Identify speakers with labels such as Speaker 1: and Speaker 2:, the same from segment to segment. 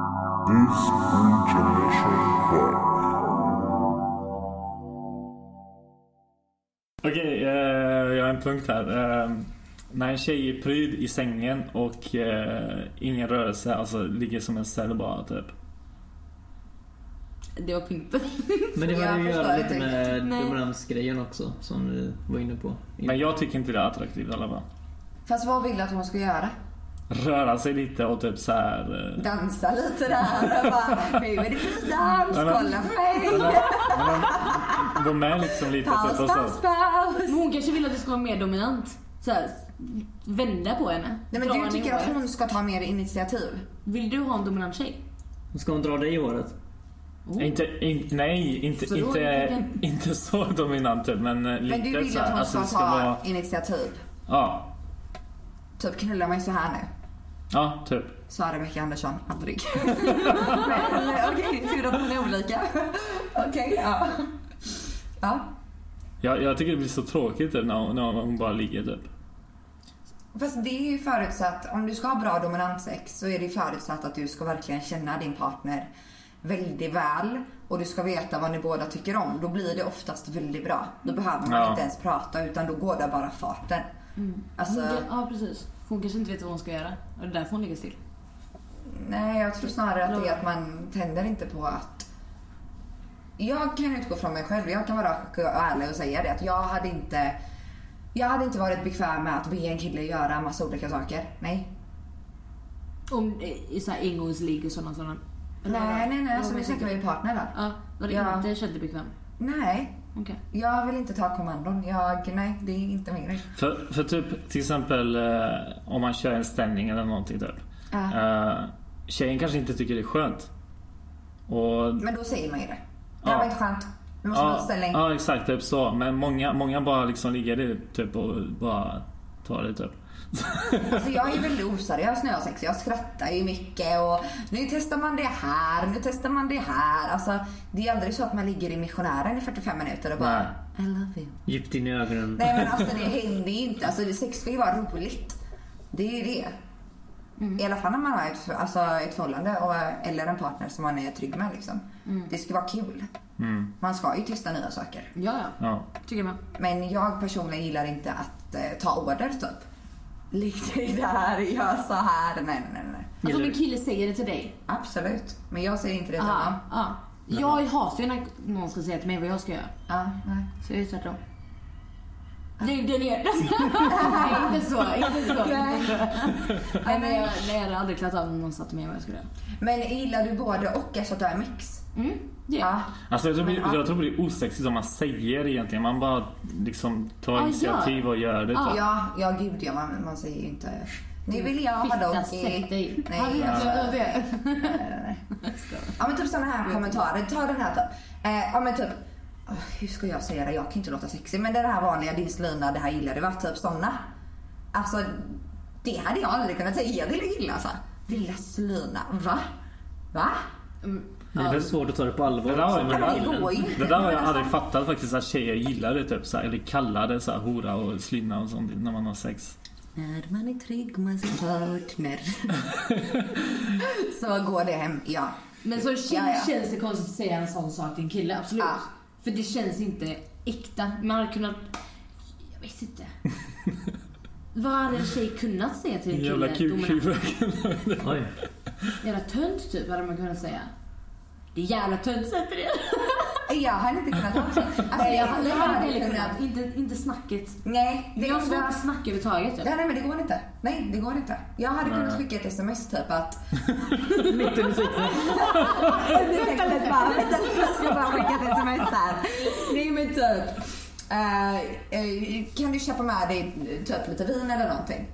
Speaker 1: This international crime.
Speaker 2: Okej, eh, jag har en punkt här. Eh, när en tjej är pryd i sängen och eh, ingen rörelse, alltså ligger som en cell bara typ.
Speaker 3: Det var punkten.
Speaker 4: Men det
Speaker 3: Jag
Speaker 4: har ju att
Speaker 3: förstår
Speaker 4: göra lite
Speaker 3: inte riktigt.
Speaker 4: med
Speaker 3: Nej.
Speaker 4: dominansgrejen också, som vi var inne på.
Speaker 2: Men jag tycker inte det är attraktivt i alla fall.
Speaker 3: Fast vad vill du att hon ska göra?
Speaker 2: Röra sig lite och typ så här. Eh,
Speaker 3: Dansa lite där och bara nu är det fri dans,
Speaker 2: Ja, men-
Speaker 3: kolla på mig.
Speaker 2: gå med liksom lite
Speaker 3: Paus,
Speaker 2: typ och så.
Speaker 3: paus, paus.
Speaker 5: Men hon kanske vill att du ska vara mer dominant. Så här, vända på henne.
Speaker 3: Nej men
Speaker 5: Dra
Speaker 3: du
Speaker 5: henne i
Speaker 3: tycker att
Speaker 5: håret.
Speaker 3: hon ska ta mer initiativ?
Speaker 5: Vill du ha en dominant tjej?
Speaker 4: Ska hon dra dig i håret?
Speaker 5: Oh.
Speaker 2: Inte, in, nej, inte,
Speaker 5: Förlåt,
Speaker 2: inte,
Speaker 5: vilken-
Speaker 2: inte så dominant typ, men eh, lite
Speaker 3: Men du vill
Speaker 2: så
Speaker 3: ju att
Speaker 2: här,
Speaker 3: hon
Speaker 2: alltså,
Speaker 3: ska,
Speaker 2: det ska
Speaker 3: ta
Speaker 2: vara,
Speaker 3: initiativ?
Speaker 2: ja,
Speaker 3: Typ knulla mig så här nu.
Speaker 2: ja, typ.
Speaker 3: Sa Rebecka Andersson, aldrig. men okej, tur att hon är olika. okej, ja. Ja.
Speaker 2: Jag, jag tycker det blir så tråkigt typ, när, hon- när hon bara ligger typ.
Speaker 3: Fast det är ju förutsatt, om du ska ha bra dominanssex så är det ju förutsatt att du ska verkligen känna din partner väldigt väl och du ska veta vad ni båda tycker om. Då blir det oftast väldigt bra. Då behöver man
Speaker 2: Ja.
Speaker 3: inte ens prata utan då går det bara farten. Alltså,
Speaker 5: Hon kan- Ja precis. För Hon kanske inte vet vad hon ska göra. Och det är därför hon ligger still.
Speaker 3: nej jag tror snarare att det är att man tänder inte på att jag kan utgå från mig själv. Jag kan vara rak och ärlig och säga det att jag hade inte jag hade inte varit bekväm med att be en kille göra en massa olika saker. Nej,
Speaker 5: Om eh, i så här engångsligg och sådana sådana.
Speaker 3: Nej, nej, nej. Alltså,
Speaker 5: Ja,
Speaker 3: nu snackar vi partner där.
Speaker 5: Ja, var det
Speaker 3: Ja.
Speaker 5: inte känt dig bekväm?
Speaker 3: Nej,
Speaker 5: Okej.
Speaker 3: jag vill inte ta kommandon. Jag, nej, det är inte min grej.
Speaker 2: För, för typ till exempel eh, om man kör en ställning eller någonting typ.
Speaker 3: Ja.
Speaker 2: Eh, tjejen kanske inte tycker det är skönt. Och,
Speaker 3: Men då säger man ju det.
Speaker 2: Ja.
Speaker 3: Det här var inte skönt. Vi måste byta ställning.
Speaker 2: ja exakt, typ så. Men många, många bara liksom ligger i det, typ och bara tar det typ.
Speaker 3: Alltså, jag är väldigt oseriös när jag har sex. Jag skrattar ju mycket och nu testar man det här, nu testar man det här. Alltså, det är aldrig så att man ligger i missionären i 45 minuter och bara I love you.
Speaker 4: Djupt in i ögonen.
Speaker 3: Nej men alltså det händer ju inte. Alltså, sex ska ju vara roligt. Det är ju det. I alla fall när man har ett, alltså, ett förhållande och, eller en partner som man är trygg med. Liksom. Det ska vara kul. Man ska ju testa nya saker.
Speaker 5: Ja, ja.
Speaker 2: Ja.
Speaker 5: Tycker jag med.
Speaker 3: Men jag personligen gillar inte att eh, ta order typ. Ligg dig där, gör så här. Nej, nej, nej. nej.
Speaker 5: Alltså om
Speaker 4: Gillar
Speaker 5: en kille säger det till dig.
Speaker 3: Absolut. Men jag säger inte det till
Speaker 5: Ja.
Speaker 3: honom.
Speaker 5: ja. Jag hatar ju när någon ska säga till mig vad jag ska göra.
Speaker 3: Ja, nej.
Speaker 5: Så jag är tvärtom. Du, du ner. Nej, inte så. Inte så. Nej, men jag, nej, jag hade aldrig klarat av om någon sa till mig vad jag skulle göra.
Speaker 3: Men gillar du både och? Alltså att du är mix?
Speaker 5: Mm, det gör jag.
Speaker 3: Ja.
Speaker 2: Alltså jag tror,
Speaker 3: Men, ja.
Speaker 2: jag tror det är osexigt om man säger egentligen. Man bara liksom tar
Speaker 3: Ah,
Speaker 5: Ja, gör.
Speaker 2: initiativ och gör det
Speaker 5: Ja.
Speaker 2: typ.
Speaker 3: Ja, ja gud ja. Man, man säger ju inte... Nu vill jag ha
Speaker 5: Fitta,
Speaker 3: doggy.
Speaker 5: sätt dig.
Speaker 3: Nej,
Speaker 5: Hade jag
Speaker 3: jag-
Speaker 5: klarat av det?
Speaker 3: Ja men typ sådana här kommentarer. Ta den här typ. Eh, ja men typ. åh, hur ska jag säga det? Jag kan inte låta sexig. Men det här vanliga, din slyna, det här gillar du va? Typ sådana. Alltså det hade jag aldrig kunnat säga till en kille alltså. Lilla slyna. Va? Va?
Speaker 5: Mm,
Speaker 4: Det är
Speaker 5: ja.
Speaker 4: väl svårt att ta det på allvar.
Speaker 2: Det där, har jag,
Speaker 3: men det
Speaker 2: det,
Speaker 3: går ju
Speaker 2: där,
Speaker 3: inte.
Speaker 2: det där har jag
Speaker 3: Men
Speaker 2: aldrig
Speaker 3: alltså-
Speaker 2: fattat faktiskt att tjejer gillar det typ så här, eller kallar det så här, hora och slinna och sånt när man har sex.
Speaker 3: När man är trygg med sin partner. Så går det hem, ja.
Speaker 5: Men som tjej
Speaker 3: Ja, ja.
Speaker 5: känns det konstigt att säga en sån sak till en kille, absolut.
Speaker 3: Ja.
Speaker 5: För det känns inte äkta. Man hade kunnat... Jag vet inte. Vad hade en tjej kunnat säga till en kille?
Speaker 2: Jävla
Speaker 5: Dominant.
Speaker 2: kuk
Speaker 4: Oj.
Speaker 5: Jävla tönt typ hade man kunnat säga. Det är jävla tönt, sätter det.
Speaker 3: Jag hade inte kunnat ha det. Alltså,
Speaker 5: Nej, jag hade
Speaker 3: jag
Speaker 5: inte heller kunnat. Inte, inte snacket.
Speaker 3: Nej, det
Speaker 5: Jag har svårt
Speaker 3: är
Speaker 5: att snacka överhuvudtaget. Typ.
Speaker 3: Nej, nej men det går inte. Nej det går inte. Jag hade kunnat skicka ett sms typ att
Speaker 4: Mitt i musiken.
Speaker 3: Ursäkta, bara, vänta, jag ska bara skicka ett sms här. Nej men typ. eh, eh, kan du köpa med dig typ lite vin eller någonting?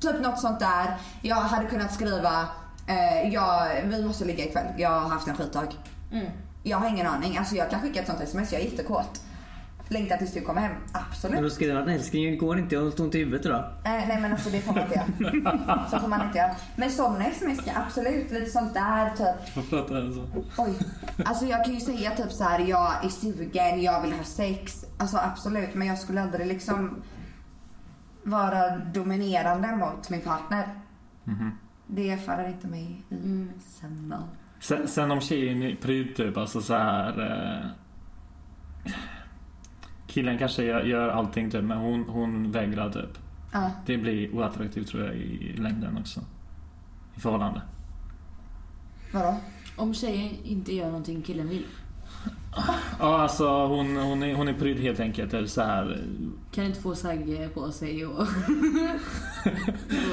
Speaker 3: Typ något sånt där. Jag hade kunnat skriva, eh, ja, vi måste ligga ikväll, jag har haft en skitdag.
Speaker 5: Mm.
Speaker 3: Jag har ingen aning, alltså jag kan skicka ett sånt sms, jag är jättekåt. Längtar tills du kommer hem, absolut.
Speaker 4: Men då skriver han älskling det går inte, jag har ont i huvudet idag.
Speaker 3: Eh, nej men alltså det får man inte göra. Så får man inte göra. Men sådana sms, ja, absolut, lite sånt där typ.
Speaker 2: alltså.
Speaker 3: Oj. Alltså jag kan ju säga typ så här, jag är sugen, jag vill ha sex. Alltså absolut, men jag skulle aldrig liksom vara
Speaker 4: Mhm.
Speaker 5: Mm.
Speaker 3: dominerande mot min partner. Det faller inte mig i samma.
Speaker 2: Sen, sen om tjejen är pryd typ, alltså så här. Eh, killen kanske gör, gör allting typ, men hon, hon vägrar typ.
Speaker 5: Ja.
Speaker 2: Det blir oattraktivt tror jag i längden också. I förhållande.
Speaker 3: Vadå?
Speaker 5: Om tjejen inte gör någonting killen vill,
Speaker 2: Ja, alltså hon, hon, är, hon är pryd helt enkelt. Eller så här. eh,
Speaker 5: kan inte få sagge på sig och...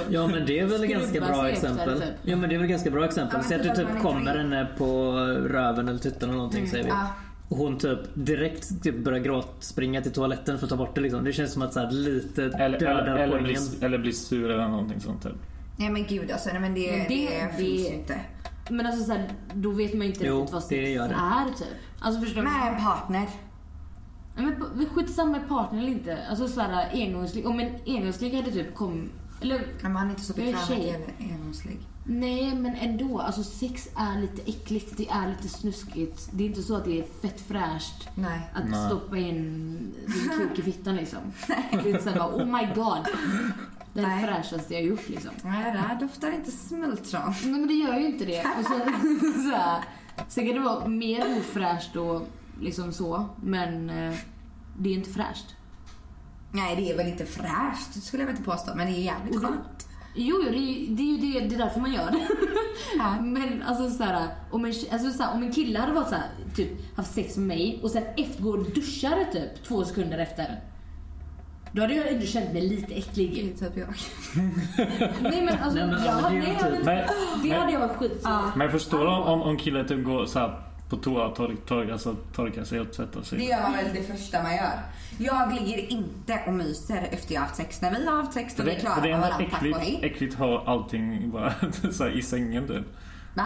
Speaker 4: Ja men det är väl ganska
Speaker 5: Skrubba
Speaker 4: bra
Speaker 5: sig efter,
Speaker 4: exempel.
Speaker 5: typ.
Speaker 4: Ja men det är väl ganska bra exempel.
Speaker 3: Ja, men
Speaker 4: Säg att du
Speaker 3: typ att man
Speaker 4: typ
Speaker 3: inte
Speaker 4: kommer
Speaker 3: vill.
Speaker 4: henne på röven eller tuttarna eller någonting säger vi.
Speaker 3: Ja.
Speaker 4: Och hon typ direkt typ börjar gråt, springa till toaletten för att ta bort det liksom. Det känns som att så här, lite
Speaker 2: Eller, eller,
Speaker 4: dödar
Speaker 2: eller,
Speaker 4: poängen.
Speaker 2: blir, eller blir sur eller någonting sånt typ.
Speaker 3: Nej men gud alltså, nej, men det,
Speaker 5: Men
Speaker 3: det,
Speaker 5: det-
Speaker 3: finns
Speaker 5: det-
Speaker 3: inte.
Speaker 5: Men alltså såhär, då vet man inte
Speaker 4: Jo,
Speaker 5: riktigt vad
Speaker 4: det
Speaker 5: sex
Speaker 4: gör det.
Speaker 5: är typ. Alltså förstår du?
Speaker 3: Med en partner.
Speaker 5: Nej, men på- vi skitsamma med partner eller inte. Alltså såhär engångsligg. Om en engångsligg hade typ kom... Eller
Speaker 3: Men man är inte så
Speaker 5: Jag är
Speaker 3: bekväm
Speaker 5: tjej.
Speaker 3: med en engångsligg.
Speaker 5: nej men ändå. Alltså sex är lite äckligt. Det är lite snuskigt. Det är inte så att det är fett fräscht.
Speaker 3: Nej.
Speaker 5: Att
Speaker 2: Nej.
Speaker 5: stoppa in din kuk i fittan liksom. Det är inte såhär bara, oh my god. Det är
Speaker 3: Nej.
Speaker 5: det fräschaste jag har gjort liksom.
Speaker 3: Nej, det här doftar inte smultron.
Speaker 5: Nej men det gör ju inte det. Och så, så här, sen kan det vara mer ofräscht och liksom så, men eh, det är inte fräscht.
Speaker 3: Nej, det är väl inte fräscht, det skulle jag väl inte påstå. Men det är jävligt
Speaker 5: Och det-
Speaker 3: skönt.
Speaker 5: Jo, jo det, är ju- det, är ju det, det är därför man gör det.
Speaker 3: Ja.
Speaker 5: Men alltså såhär, om en, alltså, så här, om en kille hade varit såhär, typ haft sex med mig och sen efter går och duschar typ två sekunder efter. Då hade jag ändå känt mig lite
Speaker 3: Det
Speaker 5: äcklig.
Speaker 3: är typ jag.
Speaker 5: Nej men alltså,
Speaker 4: Nej, men,
Speaker 5: jag,
Speaker 4: alltså, det är ju
Speaker 5: nej, jag,
Speaker 4: typ-
Speaker 5: men,
Speaker 2: Men,
Speaker 5: det
Speaker 2: men,
Speaker 5: hade jag varit skit
Speaker 2: men förstår du om, om killen typ går så här på toa och tork, tork, alltså, torkar sig och tvättar
Speaker 3: Det
Speaker 2: sig.
Speaker 3: gör man väl det första man gör. Jag ligger inte och myser efter jag har haft sex. När vi har haft sex
Speaker 2: För
Speaker 3: då är vi
Speaker 2: det,
Speaker 3: klara
Speaker 2: för det är
Speaker 3: med
Speaker 2: ändå
Speaker 3: varandra, tack och
Speaker 2: äckligt,
Speaker 3: hej.
Speaker 2: äckligt att ha allting bara, så här, i sängen typ.
Speaker 3: Va?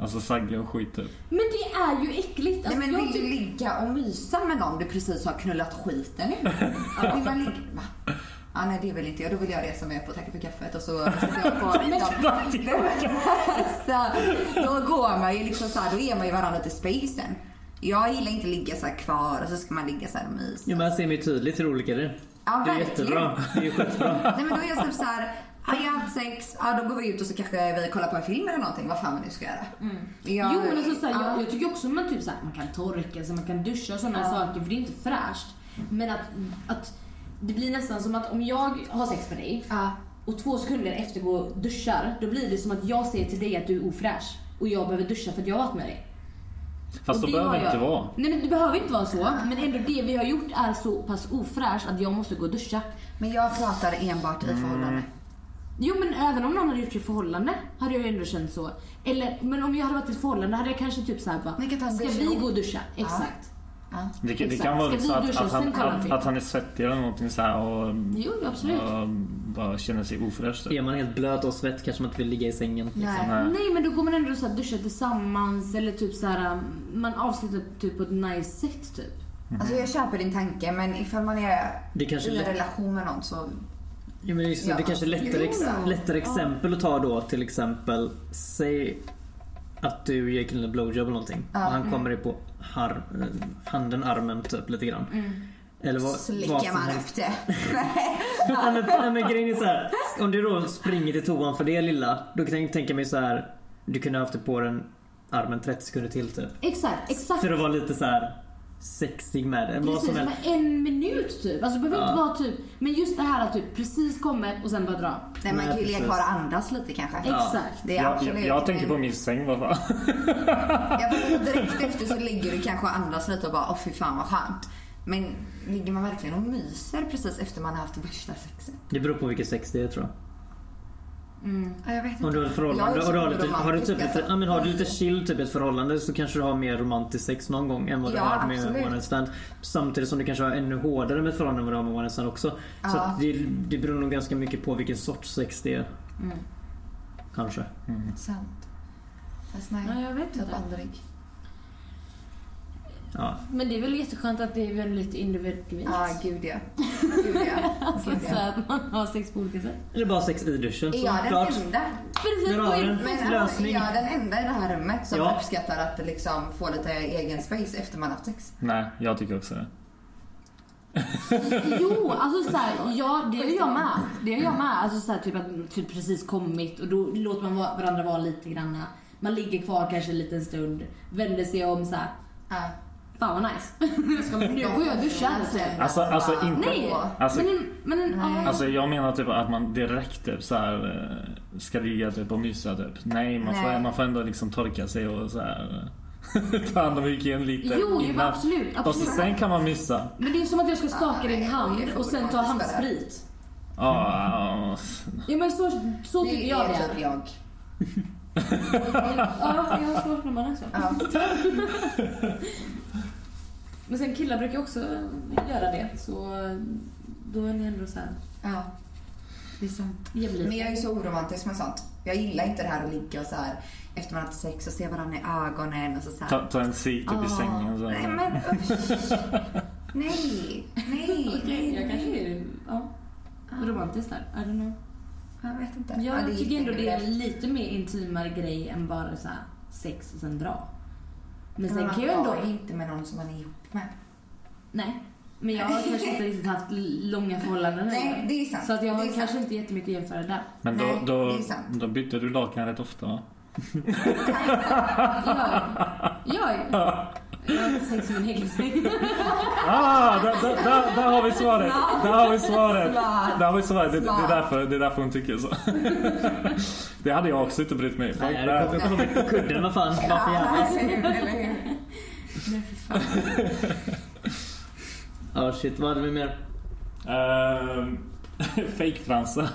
Speaker 2: Alltså sagge och skit typ.
Speaker 5: Men det är ju äckligt.
Speaker 3: Nej
Speaker 5: Alltså,
Speaker 3: men
Speaker 5: jag
Speaker 3: vill
Speaker 5: tycker-
Speaker 3: du ligga och mysa med någon du precis har knullat skiten ur? Ja, vill man ligga... Va? Ja, nej det vill inte jag. Då vill jag det som är på Tacka för kaffet och så sätter jag på liksom... Nej, men alltså, då går man ju liksom så här, då ger man ju varandra till spacen. Jag gillar inte att ligga så här kvar och så ska man ligga så här och mysa.
Speaker 4: Ja, men jag ser mig tydligt hur olika det är.
Speaker 3: Ja,
Speaker 4: det är
Speaker 3: verkligen.
Speaker 4: jättebra. Det är ju skitbra.
Speaker 3: Nej men då är jag typ såhär, har jag haft sex, ja då går vi ut och så kanske vi kollar på en film eller någonting, vad fan vi nu ska göra. Jag,
Speaker 5: Jo men alltså såhär,
Speaker 3: ja.
Speaker 5: jag, jag tycker också man, typ, såhär, man kan torka sig, man kan duscha och sådana saker för det är inte fräscht. Men att, att det blir nästan som att om jag har sex med dig
Speaker 3: Ja.
Speaker 5: och två sekunder efter går och duschar, då blir det som att jag säger till dig att du är ofräsch och jag behöver duscha för att jag har varit med dig.
Speaker 2: Fast
Speaker 5: Och
Speaker 2: så
Speaker 5: det
Speaker 2: behöver
Speaker 5: har
Speaker 2: det inte
Speaker 5: jag.
Speaker 2: vara.
Speaker 5: Nej men det behöver inte vara så. Men ändå det vi har gjort är så pass ofräscht att jag måste gå och duscha.
Speaker 3: Men jag pratar enbart i förhållande.
Speaker 5: Jo men även om någon hade gjort det i förhållande hade jag ju ändå känt så. Eller, men om jag hade varit i ett förhållande hade jag kanske typ såhär
Speaker 3: Ni kan ta
Speaker 5: bara,
Speaker 3: en
Speaker 5: ska
Speaker 3: dusch
Speaker 5: vi
Speaker 3: ihop."
Speaker 5: gå och duscha? Exakt.
Speaker 3: Ja.
Speaker 2: Det, kan- det
Speaker 5: Exakt.
Speaker 2: kan vara
Speaker 5: Ska
Speaker 2: lite så
Speaker 5: vi
Speaker 2: att,
Speaker 5: duscha och
Speaker 2: att, han,
Speaker 5: sen kolla en
Speaker 2: att,
Speaker 5: film?
Speaker 2: att han är svettig eller någonting så här och
Speaker 5: Jo, absolut.
Speaker 2: och bara känner sig ofräsch. typ.
Speaker 4: Är man helt blöt och svett kanske man inte vill ligga i sängen.
Speaker 3: Nej.
Speaker 2: Nej.
Speaker 5: Nej men då går man ändå så här duscha tillsammans eller typ så här um, man avslutar typ på ett nice sätt typ.
Speaker 3: Alltså jag köper din tanke men ifall man är
Speaker 4: Det kanske
Speaker 3: i en
Speaker 4: lätt-
Speaker 3: relation med någon så...
Speaker 4: Ja, men just, det, det
Speaker 3: Ja.
Speaker 4: kanske är lättare, ex,
Speaker 5: Jo, jo.
Speaker 4: lättare exempel att ta då. Till exempel, säg att du ger killen en blowjob eller någonting.
Speaker 3: Ja, Mm.
Speaker 4: och han kommer dig på har, handen, armen typ lite grann. Eller vad,
Speaker 3: Så
Speaker 4: vad
Speaker 3: lägger
Speaker 4: som
Speaker 3: Mm. man
Speaker 4: helst.
Speaker 3: upp det.
Speaker 4: Nej, men, nej, men grejen är så här. Om du då springer till toan för det lilla. Då kan jag tänka mig så här. Du kunde ha haft det på den armen 30 sekunder till typ.
Speaker 5: Exakt, exakt.
Speaker 4: För att vara lite så här sexig med det. Vad
Speaker 5: Precis
Speaker 4: som
Speaker 5: som
Speaker 4: helst.
Speaker 5: en minut typ. Alltså det behöver
Speaker 4: Ja.
Speaker 5: inte vara typ, men just det här att typ precis kommer och sen bara dra.
Speaker 3: Nej man
Speaker 4: Nej,
Speaker 3: kan ju ligga
Speaker 4: precis.
Speaker 3: kvar och andas lite kanske.
Speaker 5: Exakt.
Speaker 3: Det är
Speaker 2: Jag,
Speaker 3: absolut.
Speaker 2: jag, jag tänker på min säng vad fan.
Speaker 3: Ja, men direkt efter så ligger du kanske och andas lite och bara åh fy fan vad skönt. Men ligger man verkligen och myser precis efter man har haft värsta sexet?
Speaker 4: Det beror på vilket sex det är tror jag.
Speaker 3: Ja, jag vet inte.
Speaker 4: Om du har ett förhållande
Speaker 3: Jag är
Speaker 4: och du har,
Speaker 3: så
Speaker 4: lite, har, du typ
Speaker 3: romantisk,
Speaker 4: lite,
Speaker 3: alltså.
Speaker 4: ja, men har du lite chill typ i ett förhållande så kanske du har mer romantisk sex någon gång än vad du
Speaker 3: Ja,
Speaker 4: har med
Speaker 3: absolut.
Speaker 4: one night stand. Samtidigt som du kanske har ännu hårdare med ett förhållande än vad du har med one night stand också. Så
Speaker 3: Ja.
Speaker 4: att det, det beror nog ganska mycket på vilken sorts sex det är.
Speaker 3: mm.
Speaker 4: Kanske.
Speaker 3: Sant. Fast nej.
Speaker 5: Ja, jag vet
Speaker 3: typ
Speaker 5: inte.
Speaker 3: aldrig.
Speaker 4: Ja.
Speaker 5: Men det är väl jätteskönt att det är väldigt individuellt.
Speaker 3: Ja, gud ja. Gud ja.
Speaker 5: Alltså
Speaker 3: Gud,
Speaker 5: så
Speaker 3: ja.
Speaker 5: att man har sex på olika sätt.
Speaker 4: Eller bara sex i duschen
Speaker 3: Är jag
Speaker 4: såklart.
Speaker 3: den enda?
Speaker 5: Precis,
Speaker 4: Där har
Speaker 5: och
Speaker 4: du
Speaker 5: in-
Speaker 4: den.
Speaker 3: Men alltså, är
Speaker 4: Lösning.
Speaker 3: jag den enda i det här rummet som
Speaker 4: Ja.
Speaker 3: uppskattar att liksom få lite egen space efter man haft sex?
Speaker 2: Nej, jag tycker också det.
Speaker 5: Jo, alltså såhär, ja det gör jag med. Det gör jag med. Alltså såhär typ att man typ precis kommit och då låter man va- varandra vara lite granna. Man ligger kvar kanske en liten stund, vänder sig om så här.
Speaker 3: Ja.
Speaker 5: Fan vad nice. Nu går jag och duschar. typ.
Speaker 2: Alltså- alltså
Speaker 3: Bara-
Speaker 2: inte-
Speaker 5: Nej,
Speaker 2: Alltså-
Speaker 5: men en, men en
Speaker 3: Nej.
Speaker 5: ja.
Speaker 2: Alltså jag menar typ att man direkt typ så här eh, ska ligga typ och mysa typ. Nej, man, Får,
Speaker 3: Nej.
Speaker 2: man får ändå liksom torka sig och så här eh, ta hand om hygien lite
Speaker 5: Jo, jo men
Speaker 2: innan.
Speaker 5: absolut.
Speaker 2: Och så
Speaker 5: absolut.
Speaker 2: sen kan man mysa.
Speaker 5: Men det är som att jag ska staka din hand
Speaker 3: Oj,
Speaker 5: och sen ta
Speaker 3: jag får
Speaker 5: handsprit.
Speaker 2: Ja, ja,
Speaker 5: Ja men så, så
Speaker 3: Det
Speaker 5: tycker
Speaker 3: är
Speaker 5: jag det är.
Speaker 3: typ jag.
Speaker 5: Ja, jag har svårt med balans. ja.
Speaker 3: Ja.
Speaker 5: Men sen killar brukar också göra det. Så då är ni ändå såhär
Speaker 3: ja. Det är sant. Men jag
Speaker 5: jämlika.
Speaker 3: är ju så oromantisk med sånt. Jag gillar inte det här att ligga och så här efter man har haft sex och se varandra i ögonen och så, så här.
Speaker 2: ta, ta en cig typ i sängen. Så.
Speaker 3: Ah. Nej
Speaker 2: här.
Speaker 3: men usch. Nej, nej,
Speaker 5: Okej,
Speaker 3: nej.
Speaker 5: jag kanske
Speaker 3: nej.
Speaker 5: är ja, romantisk där. I don't know.
Speaker 3: Jag vet inte.
Speaker 5: Jag
Speaker 3: Ah. Ja, det är
Speaker 5: tycker ändå det är
Speaker 3: jätteindividuellt.
Speaker 5: en lite mer intimare grej än bara så här sex och sen dra. Men sen
Speaker 3: man
Speaker 5: kan jag
Speaker 3: har
Speaker 5: ändå...
Speaker 3: ju inte med någon som man är ihop med.
Speaker 5: Nej. Men jag har kanske inte riktigt haft långa förhållanden
Speaker 3: Nej,
Speaker 5: heller.
Speaker 3: det är sant.
Speaker 5: Så att jag
Speaker 3: det
Speaker 5: har
Speaker 3: är
Speaker 5: kanske
Speaker 3: sant.
Speaker 5: inte jättemycket att jämföra där.
Speaker 2: Men då,
Speaker 3: Nej, det
Speaker 2: då,
Speaker 3: är sant.
Speaker 2: då bytte du lakan rätt ofta va?
Speaker 5: Jag, jag, jag har inte sex med min egen säng.
Speaker 2: Ah, där, där, där, där har vi svaret! Där har vi svaret!
Speaker 3: Svar.
Speaker 2: Där har vi svaret. Det, det,
Speaker 3: Svar.
Speaker 2: är därför, det är därför hon tycker så. Det hade jag också inte brytt mig. Fuck
Speaker 4: Nej,
Speaker 2: that.
Speaker 4: du kommer på kudden. Vad fan,
Speaker 3: Ja,
Speaker 4: varför jävla...
Speaker 3: eller hur, eller hur?
Speaker 4: Ja, shit. Vad hade vi mer?
Speaker 2: Ehm, Fejkfransar.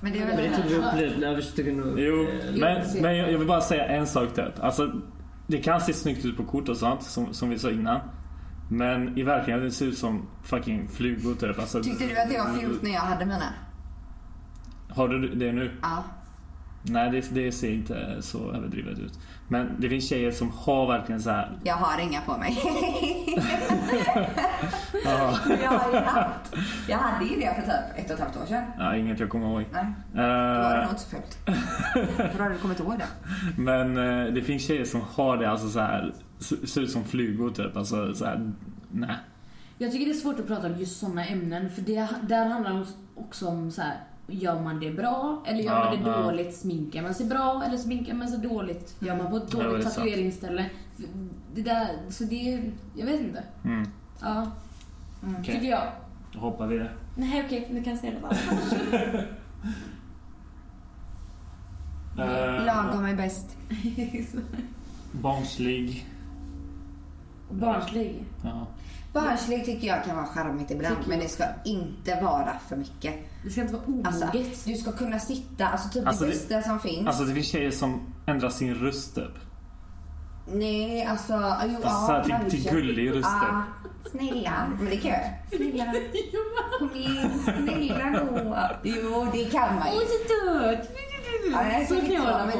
Speaker 3: Men det är
Speaker 4: Men
Speaker 3: väl
Speaker 4: det tog vi upp lite. Jag tycker nog...
Speaker 2: Jo,
Speaker 4: eh,
Speaker 2: men,
Speaker 5: se.
Speaker 2: men jag jag vill bara säga en sak typ. Alltså, det kan se snyggt ut på kort och sånt, som, som vi sa innan. Men i verkligheten det ser det ut som fucking flugor typ. Alltså,
Speaker 3: Tyckte du att jag var fult när jag hade mina?
Speaker 2: Har du det nu?
Speaker 3: Ja.
Speaker 2: Nej, det, det ser inte så överdrivet ut. Men det finns tjejer som har verkligen så här.
Speaker 3: Jag har inga på mig.
Speaker 2: Ja,
Speaker 3: jag, har ju haft. jag hade ju det för typ ett och ett halvt år sedan.
Speaker 2: ja, inget jag kommer ihåg.
Speaker 3: Nej, då var det
Speaker 2: Eh,
Speaker 3: nog inte så fult. För då hade du kommit ihåg det.
Speaker 2: men eh, det finns tjejer som har det alltså så här. se- Ser ut som flugor typ. Alltså så här. Nej.
Speaker 5: Jag tycker det är svårt att prata om just sådana ämnen för det, där handlar det också om så här. Gör man det bra eller gör man
Speaker 2: Ja,
Speaker 5: det
Speaker 2: ja.
Speaker 5: dåligt? Sminkar man sig bra eller sminkar man sig dåligt? Gör man på ett
Speaker 2: Mm. Ja, det är
Speaker 5: dåligt
Speaker 2: sant.
Speaker 5: tatueringsställe? För Det där, så det är, jag vet inte.
Speaker 2: Mm.
Speaker 5: Ja, Mm,
Speaker 2: Okej,
Speaker 5: tycker jag.
Speaker 2: då hoppar vi det.
Speaker 5: Nej okej, nu kan jag säga det bara.
Speaker 2: Eh,
Speaker 3: Lagom är bäst.
Speaker 2: Barnslig.
Speaker 5: Barnslig.
Speaker 2: Ja.
Speaker 3: Barnslig tycker jag kan vara charmigt ibland
Speaker 5: Tycker
Speaker 3: men
Speaker 5: jag
Speaker 3: det ska inte vara för mycket.
Speaker 5: Det ska inte vara
Speaker 3: Alltså,
Speaker 5: omoget.
Speaker 3: du ska kunna sitta, alltså typ
Speaker 2: Alltså,
Speaker 3: det
Speaker 2: det-
Speaker 3: bästa som finns.
Speaker 2: Alltså det finns tjejer som ändrar sin röst typ.
Speaker 3: Nej, alltså... Jo,
Speaker 2: Alltså,
Speaker 3: ja,
Speaker 2: så här till- till
Speaker 3: kanske.
Speaker 2: gullig röst typ.
Speaker 3: Ja, Ah, snälla. Men det kan jag. Snälla. Kom igen, snälla då. Jo, det kan man ju.
Speaker 5: Åh, så dött!
Speaker 3: Ja, nej,
Speaker 5: Så
Speaker 3: det
Speaker 5: kan jag
Speaker 3: inte
Speaker 5: hålla på.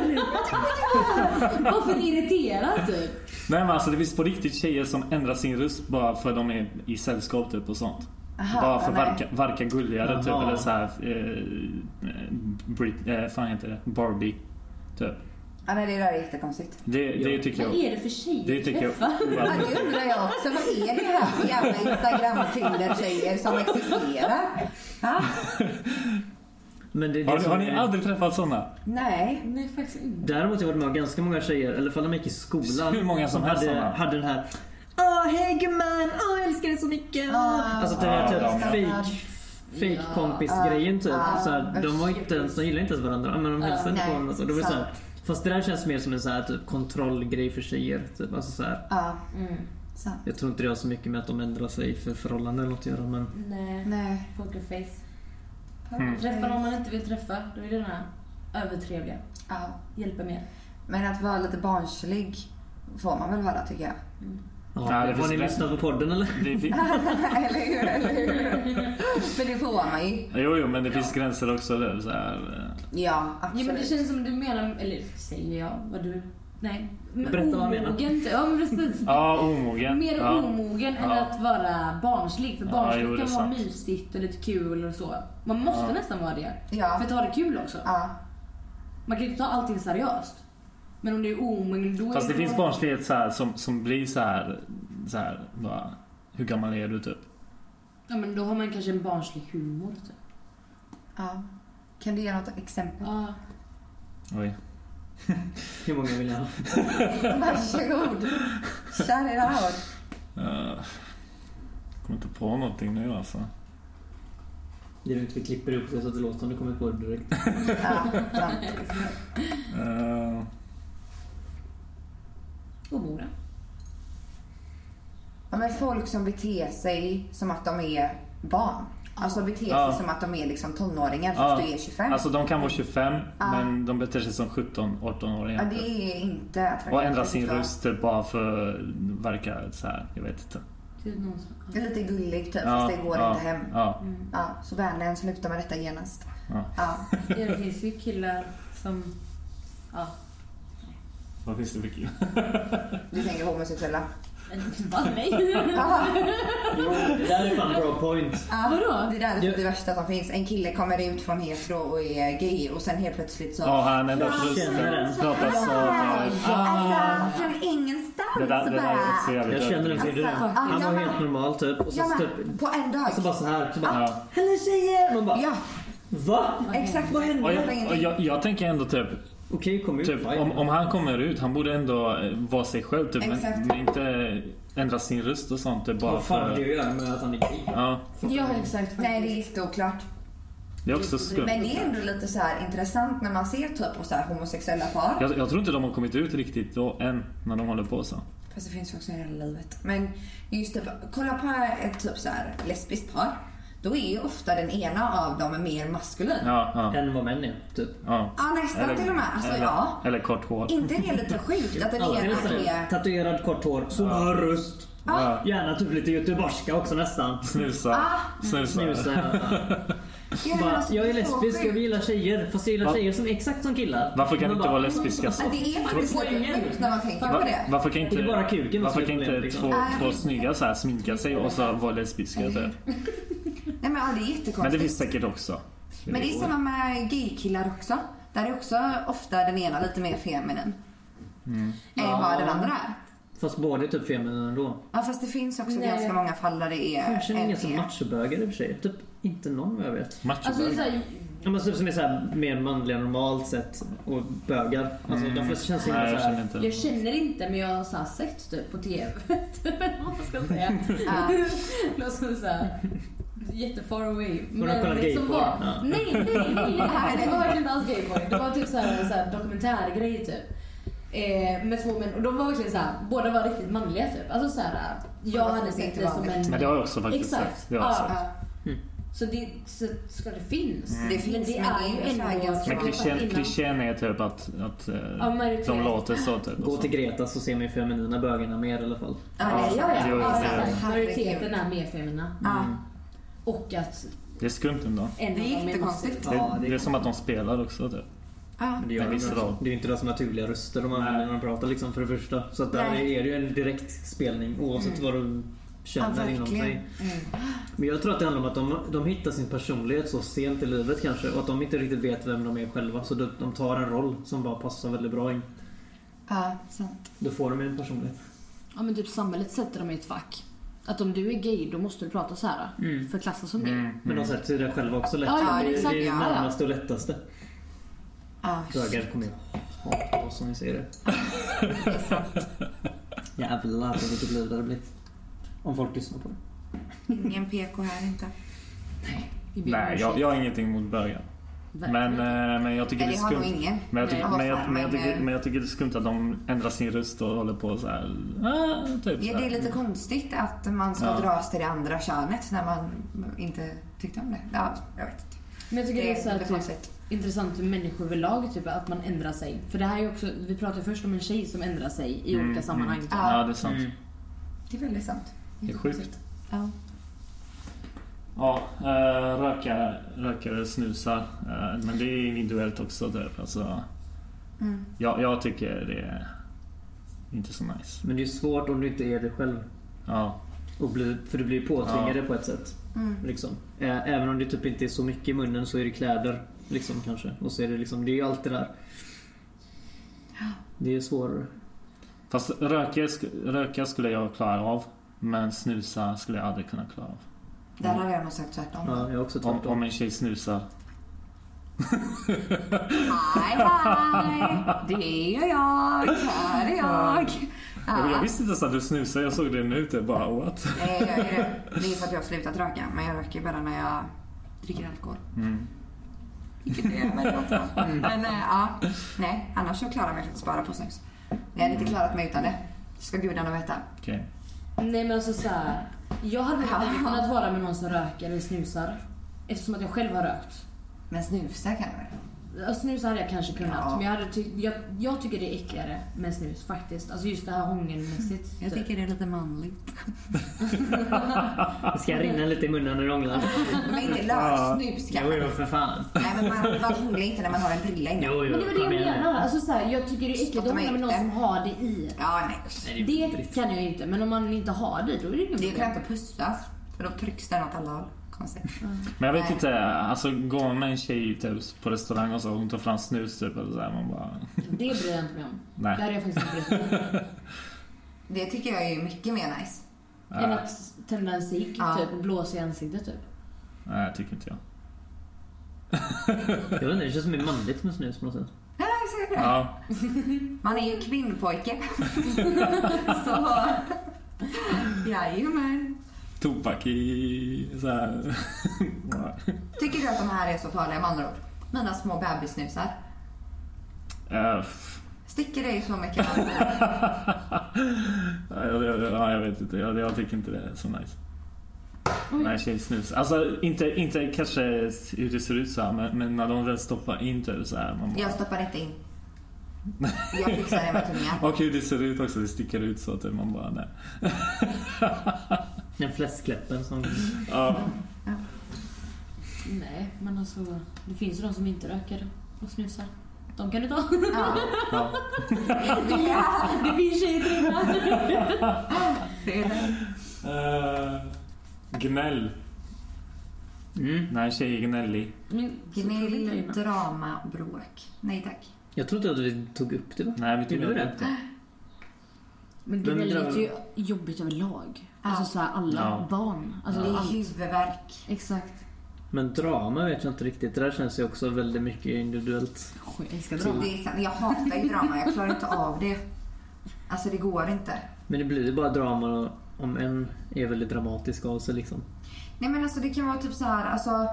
Speaker 3: men typ.
Speaker 5: Bara för irriterad typ.
Speaker 2: Nej men alltså det finns på riktigt tjejer som ändrar sin röst bara för att de är i sällskap typ och sånt.
Speaker 3: Aha,
Speaker 2: bara för att
Speaker 3: nej.
Speaker 2: verka, verka gulligare typ
Speaker 4: Jaha.
Speaker 2: eller såhär... Eh, Brit, eh, fan heter det? Barbie. Typ.
Speaker 3: Ja, nej, det där är jättekonstigt.
Speaker 2: Det, det
Speaker 4: Jo.
Speaker 2: tycker
Speaker 5: Vad
Speaker 2: jag.
Speaker 5: är det för tjejer
Speaker 2: Det typ- tycker jag.
Speaker 5: träffar?
Speaker 3: Ja, det undrar jag också. Vad är det här för jävla Instagram-Tinder-tjejer som existerar? Ha?
Speaker 4: Men det, det
Speaker 2: Har, ni-
Speaker 4: som
Speaker 2: har ni
Speaker 4: är-
Speaker 2: aldrig träffat sådana?
Speaker 3: Nej.
Speaker 5: Nej faktiskt inte.
Speaker 4: Däremot har jag varit med om ganska många tjejer, i alla fall när man gick i skolan.
Speaker 2: Hur många som helst
Speaker 4: hade,
Speaker 2: såna.
Speaker 4: hade den här Åh hej gumman, åh jag älskar dig så mycket.
Speaker 3: Ah.
Speaker 4: alltså den
Speaker 2: Ah,
Speaker 4: här
Speaker 2: de, ja.
Speaker 4: typ fake, fake kompis grejen typ.
Speaker 3: Ah.
Speaker 4: så här, de, var inte ens, de gillade inte ens varandra men de hälsade inte på
Speaker 3: nej,
Speaker 4: varandra. Alltså, det var så här,
Speaker 3: sant.
Speaker 4: fast det där känns mer som en så här, typ, kontrollgrej för tjejer. Typ. Alltså, så här,
Speaker 3: Ja,
Speaker 5: Mm.
Speaker 3: så.
Speaker 4: jag tror inte det har så mycket med att de ändrar sig för förhållanden eller något att göra men
Speaker 5: Nej.
Speaker 3: Nej.
Speaker 5: Pokerface. Träffa någon man inte vill träffa, då är det den här övertrevliga.
Speaker 3: Ja.
Speaker 5: Hjälper mer.
Speaker 3: Men att vara lite barnslig får man väl vara tycker jag.
Speaker 4: ja,
Speaker 2: Nej, det
Speaker 4: Har
Speaker 2: finns
Speaker 4: ni
Speaker 2: det.
Speaker 4: lyssnat på podden eller?
Speaker 2: Det fin-
Speaker 3: eller hur? Eller hur? För det får man ju.
Speaker 2: jo, jo, men det finns gränser också. Där, så här, eh.
Speaker 3: Ja,
Speaker 5: Ja,
Speaker 3: absolut.
Speaker 5: men det känns som du menar, eller säger jag vad du... Nej. Men
Speaker 4: Berätta vad du menar.
Speaker 5: omogen, typ. Ja men precis.
Speaker 2: Ja, omogen.
Speaker 5: Mer
Speaker 2: ja.
Speaker 5: omogen än
Speaker 2: Ja.
Speaker 5: att vara barnslig. För
Speaker 2: Ja,
Speaker 5: barnslig
Speaker 2: jo, det är
Speaker 5: kan vara
Speaker 2: sant.
Speaker 5: mysigt och lite kul och så. Man måste nästan vara det.
Speaker 3: Ja.
Speaker 5: För att ha det kul också.
Speaker 3: Ja.
Speaker 5: Man kan ju inte ta allting seriöst. Men om det är omogen då är
Speaker 2: Fast det finns
Speaker 5: bara-
Speaker 2: barnslighet så här, som, som blir så här, så här bara, Hur gammal är du typ?
Speaker 5: Ja men då har man kanske en barnslig humor typ.
Speaker 3: ja. Kan du ge något exempel?
Speaker 5: Ja.
Speaker 2: Oj.
Speaker 4: Hur många vill jag ha?
Speaker 3: Varsågod. Kör era hår.
Speaker 2: Eh, kommer inte på någonting nu alltså.
Speaker 4: Det är lugnt, vi klipper upp det så att det låter som du kommer på det direkt.
Speaker 3: Ja, ja.
Speaker 2: Eh,
Speaker 5: Och Mora.
Speaker 3: ja, men folk som beter sig som att de är barn. Alltså beter sig
Speaker 2: Ja.
Speaker 3: som att de är liksom tonåringar
Speaker 2: Ja.
Speaker 3: fast du är 25.
Speaker 2: alltså de kan vara 25
Speaker 3: Ah.
Speaker 2: men de beter sig som 17-18-åringar.
Speaker 3: ja, det är inte attraktivt.
Speaker 2: Och ändra sin
Speaker 3: tycker jag.
Speaker 2: röst till bara för att verka så här. Jag vet inte.
Speaker 5: Det är Typ någon som- Mm.
Speaker 3: Det är lite gullig typ,
Speaker 2: Ja,
Speaker 3: fast det går
Speaker 2: ja,
Speaker 3: inte hem.
Speaker 2: Ja,
Speaker 3: Ja, så vänligen, sluta med detta genast.
Speaker 2: Ja.
Speaker 3: Ja.
Speaker 5: Ja, det finns ju killar som... Ja.
Speaker 2: vad finns det för kul?
Speaker 3: Du tänker homosexuella?
Speaker 5: Va? Nej.
Speaker 3: Aha.
Speaker 4: Det där är fan bra point.
Speaker 3: Ja,
Speaker 5: Vadå?
Speaker 3: Det där är
Speaker 4: Jag-
Speaker 3: typ det värsta som finns. En kille kommer ut från hetero och är gay och sen helt plötsligt så...
Speaker 2: Ja, han ändrat
Speaker 4: känner
Speaker 2: rösten.
Speaker 4: den.
Speaker 2: Pratar så.
Speaker 3: Ja,
Speaker 2: Ah.
Speaker 3: Alltså, från ingenstans
Speaker 2: Det där, det där är så
Speaker 3: bara.
Speaker 2: jävligt
Speaker 4: Jag känner den till det. Han var helt normal typ. Och så,
Speaker 3: Alltså, Ja,
Speaker 4: typ,
Speaker 3: men, Ah. på en dag.
Speaker 4: så bara så här. Så bara,
Speaker 2: Ja.
Speaker 4: Hej tjejer! Man bara,
Speaker 3: Ja,
Speaker 4: va?
Speaker 3: exakt. Vad
Speaker 2: Och
Speaker 3: hände?
Speaker 2: jag, och jag, jag tänker ändå typ,
Speaker 4: Okej, kom ut.
Speaker 2: typ om, om han kommer ut, han borde ändå eh, vara sig själv typ, men,
Speaker 3: Exakt.
Speaker 2: men inte ändra sin röst och sånt. Typ, bara
Speaker 4: Vad fan har det
Speaker 2: för,
Speaker 4: att göra med att han är gay?
Speaker 2: ja,
Speaker 5: Ja, exakt.
Speaker 3: Nej, det är jätteoklart.
Speaker 2: det är också skumt.
Speaker 3: Men det är ändå lite så här intressant när man ser typ på så här homosexuella par.
Speaker 2: Jag, jag tror inte de har kommit ut riktigt då, än, när de håller på så.
Speaker 3: Fast det finns ju också i hela livet. Men just typ, kolla på ett typ så här lesbiskt par. Då är ju ofta den ena av dem mer maskulin. Ja,
Speaker 2: Ja, ja,
Speaker 4: Än vad män är, typ.
Speaker 2: ja.
Speaker 3: nästan till och med. Alltså
Speaker 2: eller,
Speaker 3: ja.
Speaker 2: eller kort hår.
Speaker 3: Inte det är lite sjukt att den
Speaker 4: Alla är
Speaker 3: ena
Speaker 4: nästan det.
Speaker 3: är...
Speaker 4: Tatuerad, kort hår, sån här röst.
Speaker 2: Ja.
Speaker 4: Gärna typ lite göteborgska också nästan.
Speaker 2: Snusa.
Speaker 3: Ah.
Speaker 2: Snusa.
Speaker 4: Snusa.
Speaker 3: Gud, men
Speaker 4: Bara,
Speaker 3: alltså,
Speaker 4: jag är
Speaker 3: det så
Speaker 4: lesbisk, jag
Speaker 3: sjukt.
Speaker 4: gillar tjejer. Fast jag gillar
Speaker 2: Va?
Speaker 4: tjejer som är exakt som killar.
Speaker 2: Varför kan
Speaker 4: Man
Speaker 2: det inte
Speaker 4: bara,
Speaker 2: vara lesbiska så?
Speaker 3: Ja, Alltså, det är faktiskt lite
Speaker 4: Poängen.
Speaker 3: sjukt när man tänker på
Speaker 2: Va-
Speaker 3: det.
Speaker 2: Varför kan inte,
Speaker 4: Det är bara kuken
Speaker 2: varför
Speaker 4: som är
Speaker 2: kan inte
Speaker 4: problemet, liksom.
Speaker 2: två,
Speaker 3: Ah.
Speaker 2: två snygga så här sminka sig och så vara lesbiska? Typ?
Speaker 3: Nej men ja, det är
Speaker 2: Men det
Speaker 3: jättekonstigt.
Speaker 2: finns säkert också.
Speaker 3: Men det är samma med gaykillar också. Där är också ofta den ena lite mer feminin. Än vad den andra är.
Speaker 4: Fast båda är typ feminina ändå.
Speaker 3: Ja fast det finns också
Speaker 5: Nej.
Speaker 3: ganska många fall där det är
Speaker 4: Kanske
Speaker 3: en
Speaker 4: inga som
Speaker 3: är-
Speaker 4: matchbögar i och för sig. Typ inte någon vad jag vet.
Speaker 2: Macho
Speaker 5: Alltså, det är
Speaker 2: bög.
Speaker 5: så här,
Speaker 4: Ja, men typ som är så här mer manliga normalt sett och bögar. Alltså de flesta känns inte
Speaker 2: Nej, jag
Speaker 4: så
Speaker 2: känner
Speaker 4: här.
Speaker 2: inte.
Speaker 5: jag känner inte men jag har så här sett typ på TV. Typ eller vad man ska säga.
Speaker 3: Ja.
Speaker 5: Låter som så här jättefar away.
Speaker 4: Har du kollat gayporn?
Speaker 5: var,
Speaker 4: Ja.
Speaker 5: nej, nej, nej, nej. Det var verkligen inte alls gayporn. Det var typ så här, så här dokumentärgrej typ. Eh, med två män och de var verkligen så här, båda var riktigt manliga typ. Alltså så här, jag
Speaker 3: Kolla,
Speaker 5: hett hade
Speaker 3: det är
Speaker 5: sett
Speaker 3: inte
Speaker 5: det som en...
Speaker 3: vanligt.
Speaker 2: Men det har jag också faktiskt
Speaker 5: Exakt.
Speaker 2: sett. Det har jag sett.
Speaker 5: Ja.
Speaker 3: Ja.
Speaker 5: Så det så ska det finnas.
Speaker 3: Det finns,
Speaker 5: men det
Speaker 3: men
Speaker 5: är ju
Speaker 3: det är så här
Speaker 5: ändå...
Speaker 3: ganska-
Speaker 2: Mm. Men
Speaker 3: Jag
Speaker 2: klichén- klichén är typ att, att eh,
Speaker 5: Ja, majoritet.
Speaker 2: de låter så typ. och
Speaker 4: Gå
Speaker 2: så.
Speaker 4: till Greta så ser man ju feminina bögarna mer i alla fall.
Speaker 3: Ja,
Speaker 5: Ja,
Speaker 3: det är-
Speaker 5: ja,
Speaker 2: Jo,
Speaker 5: ja.
Speaker 2: det är-
Speaker 5: Alltså, Majoriteten
Speaker 3: Herregud.
Speaker 5: är mer feminina.
Speaker 3: Ja.
Speaker 5: Och att
Speaker 2: Det är skumt ändå.
Speaker 5: en
Speaker 3: Det är jättekonstigt.
Speaker 2: Det,
Speaker 4: Ja, det
Speaker 2: det,
Speaker 4: är-
Speaker 2: är som att de spelar också typ.
Speaker 3: Ja.
Speaker 4: Men det, gör
Speaker 2: Men
Speaker 4: de
Speaker 2: visst
Speaker 4: inte.
Speaker 2: då.
Speaker 4: det är ju inte deras naturliga röster de använder när de pratar liksom för det första. Så att där
Speaker 3: Nej.
Speaker 4: är det ju en direkt spelning oavsett
Speaker 5: Mm.
Speaker 4: vad de känner inom sig.
Speaker 3: Mm.
Speaker 4: Men jag tror att det handlar om att de, de hittar sin personlighet så sent i livet kanske och att de inte riktigt vet vem de är själva. Så de, de tar en roll som bara passar väldigt bra in.
Speaker 3: Ja, sant.
Speaker 4: Då får de ju en personlighet.
Speaker 5: Ja men typ samhället sätter dem i ett fack. Att om du är gay då måste du prata så här
Speaker 2: Mm.
Speaker 5: för att klassas som gay.
Speaker 4: Mm. Men de sätter sig där själva också lätt.
Speaker 5: Ja,
Speaker 3: ja,
Speaker 4: det, är-
Speaker 5: exakt,
Speaker 4: det är ju
Speaker 5: ja.
Speaker 4: närmaste och lättaste.
Speaker 3: Ja,
Speaker 4: Bögar kommer jag hata oss om ni säger det. Jävlar vilket liv det hade blivit. Om folk lyssnar på det.
Speaker 3: ingen PK här inte.
Speaker 5: Vi blir
Speaker 2: Nej, jag, jag har ingenting emot bögar. Men, eh, men jag tycker det
Speaker 3: Eller
Speaker 2: är
Speaker 3: jag har nog
Speaker 2: skumt.
Speaker 3: ingen.
Speaker 2: Men jag, tycker,
Speaker 3: Nej.
Speaker 2: men, jag, men, jag tycker,
Speaker 3: Men-
Speaker 2: men jag tycker det är skumt att de ändrar sin röst och håller på så här. Ah, typ,
Speaker 3: Ja,
Speaker 2: så
Speaker 3: det
Speaker 2: här.
Speaker 3: är lite konstigt att man ska
Speaker 2: Ja.
Speaker 3: dras till det andra könet när man inte tyckte om det. Ja, jag vet inte.
Speaker 5: Men jag tycker det är så här,
Speaker 3: lite
Speaker 5: typ,
Speaker 3: konstigt.
Speaker 5: intressant hur människor överlag typ, att man ändrar sig. För det här är ju också, vi pratade ju först om en tjej som ändrar sig
Speaker 2: Mm,
Speaker 5: i olika sammanhang. typ.
Speaker 3: Ja.
Speaker 2: Ja, det är sant.
Speaker 3: Det är väldigt sant.
Speaker 2: Det är sjukt.
Speaker 3: Mm. Ja.
Speaker 2: Ja, eh, rökare, rökare snusar. eh, men det är individuellt också. Typ. Alltså,
Speaker 3: Mm.
Speaker 2: jag, jag tycker det är inte så nice.
Speaker 4: Men det är ju svårt om du inte är dig själv.
Speaker 2: Ja,
Speaker 4: Och bli, för du blir ju påtvingad det på ett sätt.
Speaker 3: Mm.
Speaker 4: Liksom. Ä- Även om det typ inte är så mycket i munnen så är det kläder. Liksom, kanske. Och så är det, liksom, det är ju alltid där. Det är svårare.
Speaker 2: Fast röka, sk- röka skulle jag klara av. Men snusa skulle jag aldrig kunna klara av.
Speaker 3: Där har jag nog sagt tvärtom.
Speaker 4: Ja, jag har också
Speaker 2: Om,
Speaker 4: tvärtom.
Speaker 2: om en tjej snusar
Speaker 3: Hej, hej! Det är jag, här är jag.
Speaker 2: Och Jag
Speaker 3: Ja.
Speaker 2: visste inte ens att du snusade, jag såg det nu ute. Bara what?
Speaker 3: Nej, jag gör det. Det är för att jag har slutat röka, men jag röker bara när jag dricker alkohol. Vilket det är väldigt ofta. Men eh, ja, nej, annars så klarar jag mig faktiskt bara på snus. Jag hade inte klarat mig utan det. Ska gudarna veta.
Speaker 2: Okej.
Speaker 5: Nej men alltså såhär. Jag hade
Speaker 3: Ja.
Speaker 5: aldrig kunnat vara med någon som röker eller snusar. Eftersom att jag själv har rökt.
Speaker 3: Men snusa kan du?
Speaker 5: Ja, Snus Alltså, hade jag kanske kunnat.
Speaker 3: Ja.
Speaker 5: Men jag, hade ty- jag, jag tycker det är äckligare med snus faktiskt. Alltså just det här
Speaker 3: Mm.
Speaker 5: hångelmässigt. typ.
Speaker 3: det är lite manligt.
Speaker 4: Det ska rinna lite i munnen när du ånglar.
Speaker 3: Men inte lössnus
Speaker 4: Jo, jo,
Speaker 3: kanske.
Speaker 4: för fan.
Speaker 3: Nej, men man, man hånglar inte när man har en brilla inne.
Speaker 4: Jo,
Speaker 5: Men
Speaker 4: jo,
Speaker 5: det var det jag menar. Alltså, så här, jag tycker det är äckligt att
Speaker 3: Spottar man
Speaker 5: hångla med någon
Speaker 3: ut
Speaker 5: som
Speaker 3: det?
Speaker 5: har det i.
Speaker 3: Ja, nej.
Speaker 4: Nej, det är
Speaker 5: Det
Speaker 4: vidrigt.
Speaker 5: kan jag ju inte. Men om man inte har det, då är det inget
Speaker 3: Det kan
Speaker 5: problem.
Speaker 3: inte pussas, för då trycks den åt alla håll. Konstigt.
Speaker 2: Men jag vet inte, alltså går man med en tjej typ, på restaurang och så och hon tar fram snus typ eller så här, man bara...
Speaker 5: Det bryr jag inte mig om.
Speaker 2: Nej.
Speaker 5: Det hade jag faktiskt inte brytt mig om.
Speaker 3: Det tycker jag är mycket mer nice.
Speaker 5: Än att tända en cigg
Speaker 3: Ja.
Speaker 5: typ, och blåsa i ansiktet typ.
Speaker 2: Nej, det tycker inte jag.
Speaker 4: Jag vet inte, det känns mer manligt med snus på något sätt.
Speaker 3: Ja, jag ser det.
Speaker 2: Ja,
Speaker 3: Man är ju kvinnpojke. så... Jajamän.
Speaker 2: tobak i... Så här.
Speaker 3: Tycker du att de här är så farliga med andra ord? Mina små bebissnusar.
Speaker 2: Eh, f-
Speaker 3: Sticker dig så mycket?
Speaker 2: Ja, jag, jag, ja, jag vet inte. Jag, jag tycker inte det är så nice.
Speaker 5: Oj.
Speaker 2: Nej, tjejsnus. Alltså inte, inte kanske hur det ser ut så här, men, men när de väl stoppar in det så här. Man bara,
Speaker 3: Jag stoppar inte in. Jag fixar det med tungan.
Speaker 2: Och hur det ser ut också, det sticker ut så att man bara nej.
Speaker 4: Den fläskkläppen som...
Speaker 2: Ja,
Speaker 5: Nej, men alltså. Det finns ju de som inte röker och snusar. De kan du ta.
Speaker 3: Ja.
Speaker 2: ja.
Speaker 3: Ja,
Speaker 5: Det finns tjejer till det här.
Speaker 3: det är det.
Speaker 2: Eh, gnäll.
Speaker 4: Mm.
Speaker 2: När en tjej är gnällig.
Speaker 5: Men så tror inte
Speaker 3: Gnäll,
Speaker 5: jag.
Speaker 3: drama, bråk. Nej tack.
Speaker 4: Jag trodde att vi tog upp det va?
Speaker 2: Nej, vi tog
Speaker 4: Gjorde
Speaker 2: upp
Speaker 4: vi
Speaker 2: det.
Speaker 4: det?
Speaker 5: Men
Speaker 4: Vem
Speaker 5: gnäll är
Speaker 4: drar-
Speaker 5: ju jobbigt överlag.
Speaker 3: Ja.
Speaker 5: Alltså så här, alla
Speaker 2: Ja.
Speaker 5: barn.
Speaker 3: Det
Speaker 5: Alltså,
Speaker 3: är
Speaker 5: allt.
Speaker 3: huvudvärk.
Speaker 5: Exakt.
Speaker 4: Men drama vet jag inte riktigt. Det där känns ju också väldigt mycket individuellt.
Speaker 5: Sjukt, Jag älskar drama.
Speaker 3: Det är, sant. jag hatar ju drama, jag klarar inte av det. Alltså det går inte.
Speaker 4: Men det blir ju bara drama om en är väldigt dramatisk av sig liksom.
Speaker 3: Nej men alltså det kan vara typ så här, alltså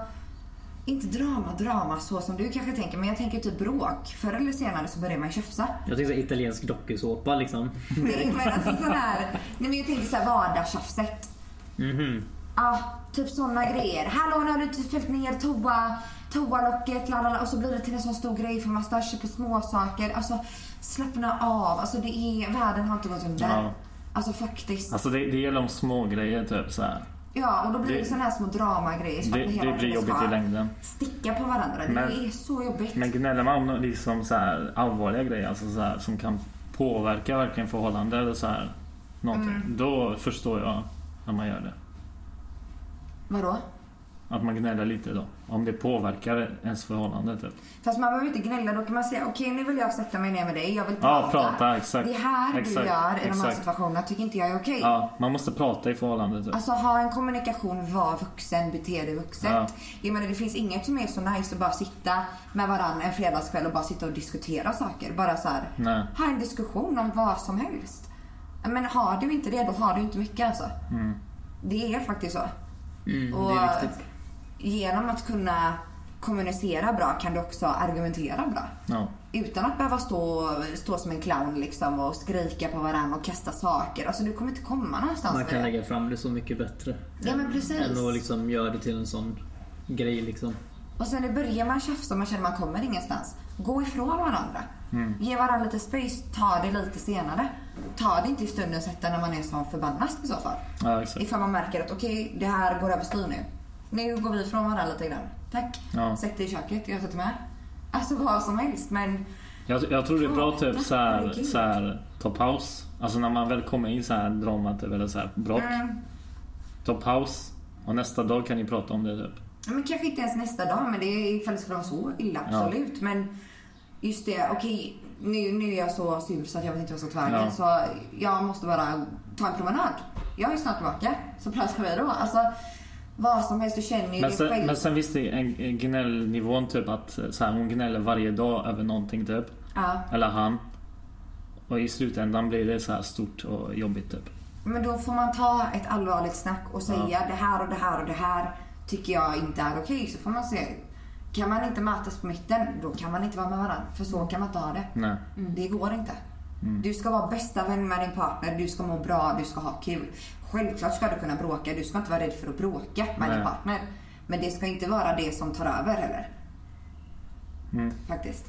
Speaker 3: inte drama, drama så som du kanske tänker, men jag tänker typ bråk. Förr eller senare så börjar man tjafsa.
Speaker 4: Jag tänkte säga italiensk dokusåpa liksom.
Speaker 3: Det är- men alltså sån här, nej men jag tänker så här vardagstjafset.
Speaker 4: Mhm.
Speaker 3: Ja, typ såna grejer. Hallå, nu har du inte fällt ner toa, toalocket, lalala. Och så blir det till en sån stor grej för man stör sig på småsaker. Alltså slappna av. Alltså det är, världen har inte gått under.
Speaker 2: Ja.
Speaker 3: Alltså faktiskt.
Speaker 2: Alltså det, det gäller om små grejer typ så här.
Speaker 3: Ja, och då blir det,
Speaker 2: Det-
Speaker 3: såna här små dramagrejer. som
Speaker 2: Det,
Speaker 3: att hela
Speaker 2: det blir
Speaker 3: tiden
Speaker 2: jobbigt
Speaker 3: ska
Speaker 2: i längden.
Speaker 3: Sticka på varandra.
Speaker 2: Men-
Speaker 3: det är så jobbigt.
Speaker 2: Men gnäller man om nå- liksom så här allvarliga grejer alltså så här, som kan påverka verkligen förhållande eller så här någonting.
Speaker 3: Mm.
Speaker 2: Då förstår jag när man gör det.
Speaker 3: Vadå?
Speaker 2: Att man gnäller lite då. Om det påverkar ens förhållande typ.
Speaker 3: Fast man behöver inte gnälla. Då kan man säga okej nu vill jag sätta mig ner med dig. Jag vill prata.
Speaker 2: Ja, prata exakt.
Speaker 3: Det här
Speaker 2: exakt,
Speaker 3: du gör i de här
Speaker 2: exakt.
Speaker 3: situationerna tycker inte jag är okej.
Speaker 2: Ja, man måste prata i förhållande typ.
Speaker 3: Alltså ha en kommunikation, var vuxen, bete dig vuxet.
Speaker 2: Ja.
Speaker 3: Jag menar det finns inget som är så nice att bara sitta med varandra en fredagskväll och bara sitta och diskutera saker. Bara så här,
Speaker 2: Nej.
Speaker 3: ha en diskussion om vad som helst. Men har du inte det, då har du inte mycket alltså.
Speaker 2: Mm.
Speaker 3: Det är faktiskt så.
Speaker 4: Mm,
Speaker 3: och
Speaker 4: det är viktigt.
Speaker 3: genom att kunna kommunicera bra kan du också argumentera bra.
Speaker 2: Ja.
Speaker 3: Utan att behöva stå, stå som en clown liksom och skrika på varandra och kasta saker. Alltså du kommer inte komma någonstans
Speaker 4: Man
Speaker 3: med
Speaker 4: kan
Speaker 3: det.
Speaker 4: lägga fram det så mycket bättre.
Speaker 3: Ja, men
Speaker 4: Än-
Speaker 3: precis.
Speaker 4: Än att liksom göra det till en sån grej liksom.
Speaker 3: Och sen det börjar man tjafsa och man känner man kommer ingenstans. Gå ifrån varandra.
Speaker 4: Mm.
Speaker 3: Ge varandra lite space. Ta det lite senare. Ta det inte i stundens hetta när man är som förbannast i så fall.
Speaker 2: ja, exakt.
Speaker 3: Ifall man märker att okej, det här går överstyr nu. Nu går vi ifrån varandra lite grann. Tack.
Speaker 2: Ja.
Speaker 3: Sätt dig i köket, jag sätter mig här. Alltså vad som helst men
Speaker 2: Jag, jag tror det är bra typ
Speaker 3: Prata,
Speaker 2: så här,
Speaker 3: herregud.
Speaker 2: så här, ta paus. Alltså när man väl kommer in i så här drama typ, eller så här bråk.
Speaker 3: mm,
Speaker 2: Ta paus. Och nästa dag kan ni prata om det typ.
Speaker 3: Men kanske inte ens nästa dag, men det är ifall det skulle vara så illa,
Speaker 2: Ja.
Speaker 3: absolut. Men just det, okej, nu, nu är jag så sur så att jag vet inte vad jag ska ta vägen.
Speaker 2: Ja.
Speaker 3: Så jag måste bara ta en promenad. Jag är snart tillbaka, så pratar vi då. Alltså, Vad som helst, du känner ju
Speaker 2: Men
Speaker 3: det
Speaker 2: sen,
Speaker 3: själv.
Speaker 2: men sen visst det är en- en gnällnivån typ att eh, så här, hon gnäller varje dag över någonting typ.
Speaker 3: Ja.
Speaker 2: Eller han. Och i slutändan blir det så här stort och jobbigt typ.
Speaker 3: Men då får man ta ett allvarligt snack och säga det här och det här och det här tycker jag inte är okej. Så får man se. Kan man inte mötas på mitten, då kan man inte vara med varandra. För så kan man inte ha det.
Speaker 2: Nej.
Speaker 3: Det går inte.
Speaker 2: Mm.
Speaker 3: Du ska vara bästa vän med din partner, du ska må bra, du ska ha kul. Självklart ska du kunna bråka, du ska inte vara rädd för att bråka med
Speaker 2: Nej.
Speaker 3: din partner. Men det ska inte vara det som tar över heller.
Speaker 2: Mm.
Speaker 3: Faktiskt.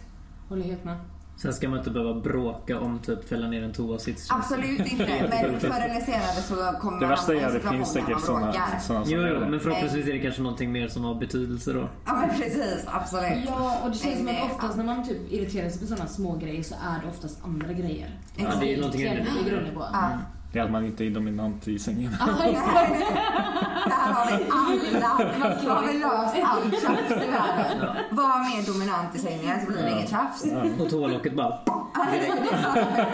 Speaker 5: Håller helt med.
Speaker 4: Sen ska man inte behöva bråka om typ fälla ner en toasits.
Speaker 3: Ah, Absolut inte, men förr eller senare så kommer
Speaker 2: Det
Speaker 3: man
Speaker 2: värsta
Speaker 3: hamna
Speaker 2: är
Speaker 3: i en
Speaker 2: att det
Speaker 3: situation
Speaker 2: finns
Speaker 3: där
Speaker 2: säkert
Speaker 3: man
Speaker 2: sådana
Speaker 3: bråkar.
Speaker 2: såna som
Speaker 4: Jo,
Speaker 2: gör
Speaker 4: jo,
Speaker 2: det.
Speaker 4: men förhoppningsvis är det kanske någonting mer som har betydelse då.
Speaker 3: Ja men precis, absolut.
Speaker 5: Ja, och det känns som
Speaker 3: Nej,
Speaker 5: att oftast när man typ irriterar sig på sådana små grejer så är det oftast andra grejer.
Speaker 3: Ja,
Speaker 4: det är ju
Speaker 5: Som
Speaker 4: någonting
Speaker 5: irriterar
Speaker 4: annat.
Speaker 5: dig i grunden på.
Speaker 3: Ja.
Speaker 2: Det är att man inte är dominant i sängen.
Speaker 5: Ja, exakt.
Speaker 3: Där har vi alla. Då har vi löst allt tjafs i världen. Var mer dominant i sängen så blir det inget tjafs.
Speaker 4: Och toalocket bara...
Speaker 3: Det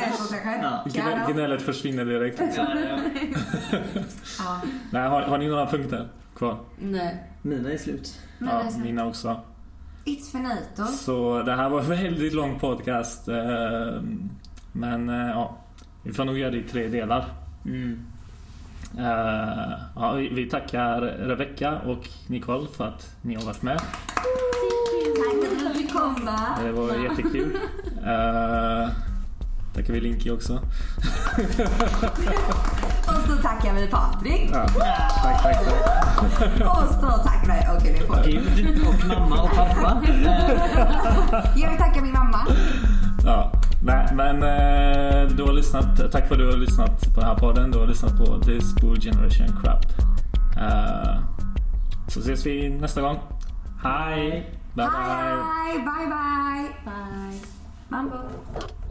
Speaker 3: är så sig själv.
Speaker 4: Ja.
Speaker 2: Gnä- Gnället försvinner direkt. liksom.
Speaker 3: Ja.
Speaker 2: Nej, har, har ni några punkter kvar?
Speaker 5: Nej.
Speaker 4: Mina är slut.
Speaker 5: Men
Speaker 2: ja,
Speaker 5: alltså-
Speaker 2: mina också.
Speaker 3: It's finito.
Speaker 2: Så det här var en väldigt lång podcast. eh, Men eh, ja, vi får nog göra det i tre delar. Eh, Ja, vi vi tackar Rebecca och Nicole för att ni har varit med.
Speaker 3: Tack för att du fick komma.
Speaker 2: Det var jättekul. Eh, Tackar vi Linky också.
Speaker 3: Och så tackar vi Patrik.
Speaker 2: Ja, tack, tack, tack.
Speaker 3: Och så tackar vi... Okej, nu får vi.
Speaker 4: Gud och mamma och pappa.
Speaker 3: Jag vill tacka min mamma.
Speaker 2: Ja, nej, men eh, du har lyssnat. Tack för att du har lyssnat på den här podden. Du har lyssnat på This Bull Generation Crap. Eh, Så ses vi nästa gång. Hej! Bye bye!
Speaker 3: Hej, bye bye.
Speaker 5: Bye.
Speaker 3: Mambo.